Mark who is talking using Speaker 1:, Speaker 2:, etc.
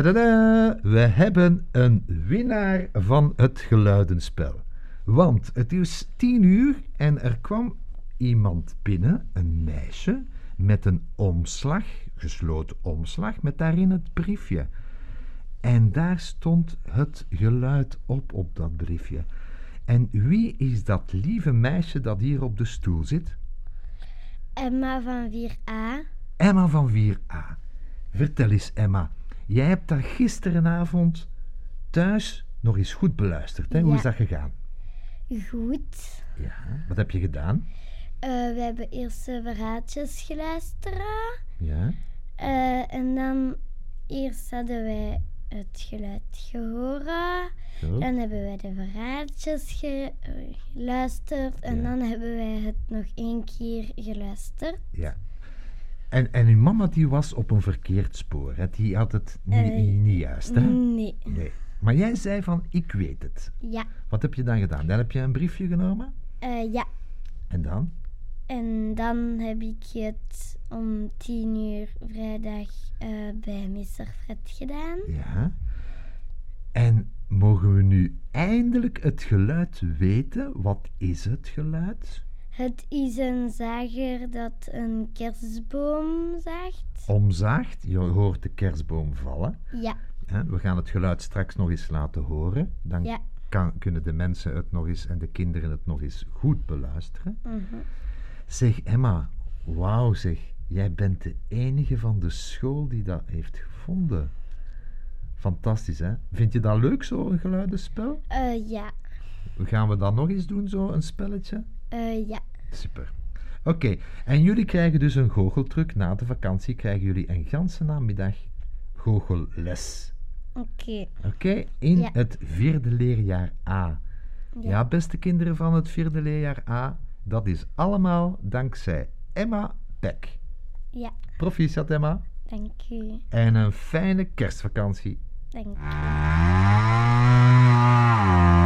Speaker 1: Tadadada. We hebben een winnaar van het geluidenspel. Want het is tien uur en er kwam iemand binnen, een meisje, met een omslag, gesloten omslag, met daarin het briefje. En daar stond het geluid op, op dat briefje. En wie is dat lieve meisje dat hier op de stoel zit?
Speaker 2: Emma van 4a.
Speaker 1: Emma van 4a. Vertel eens, Emma. Jij hebt daar gisterenavond thuis nog eens goed beluisterd. Hè? Hoe
Speaker 2: Ja.
Speaker 1: is dat gegaan?
Speaker 2: Goed.
Speaker 1: Ja. Wat heb je gedaan?
Speaker 2: Eh, we hebben eerst de verhaaltjes geluisterd.
Speaker 1: Ja.
Speaker 2: Eh, en dan eerst hadden wij het geluid gehoord.
Speaker 1: Zo.
Speaker 2: Dan hebben wij de verhaaltjes ge- eh, geluisterd. En
Speaker 1: Ja.
Speaker 2: dan hebben wij het nog één keer geluisterd.
Speaker 1: Ja. En, en uw mama die was op een verkeerd spoor. Hè? Die had het ni-
Speaker 2: Eh,
Speaker 1: niet juist. Hè?
Speaker 2: Nee.
Speaker 1: Nee. Maar jij zei van, ik weet het.
Speaker 2: Ja.
Speaker 1: Wat heb je dan gedaan? Dan heb je een briefje genomen.
Speaker 2: Eh, ja.
Speaker 1: En dan?
Speaker 2: En dan heb ik het om tien uur vrijdag eh, bij meester Fred gedaan.
Speaker 1: Ja. En mogen we nu eindelijk het geluid weten? Wat is het geluid?
Speaker 2: Het is een zager dat een kerstboom zaagt.
Speaker 1: Omzaagt. Je hoort de kerstboom vallen.
Speaker 2: Ja,
Speaker 1: hè. We gaan het geluid straks nog eens laten horen. Dan
Speaker 2: ja.
Speaker 1: kan, kunnen de mensen het nog eens en de kinderen het nog eens goed beluisteren.
Speaker 2: mhm.
Speaker 1: Zeg Emma, wauw zeg, jij bent de enige van de school die dat heeft gevonden. Fantastisch hè? Vind je dat leuk zo, een geluidenspel?
Speaker 2: Eh, ja,
Speaker 1: Gaan we dat nog eens doen, zo een spelletje?
Speaker 2: Eh, ja.
Speaker 1: Super. Oké, en jullie krijgen dus een goocheltruc. Na de vakantie krijgen jullie een ganse namiddag goochelles.
Speaker 2: Oké.
Speaker 1: Oké, in
Speaker 2: Ja.
Speaker 1: het vierde leerjaar A. Ja.
Speaker 2: Ja.
Speaker 1: beste kinderen van het vierde leerjaar A, dat is allemaal dankzij Emma Beck.
Speaker 2: Ja,
Speaker 1: Proficiat Emma
Speaker 2: dank u.
Speaker 1: en een fijne kerstvakantie.
Speaker 2: Dank u.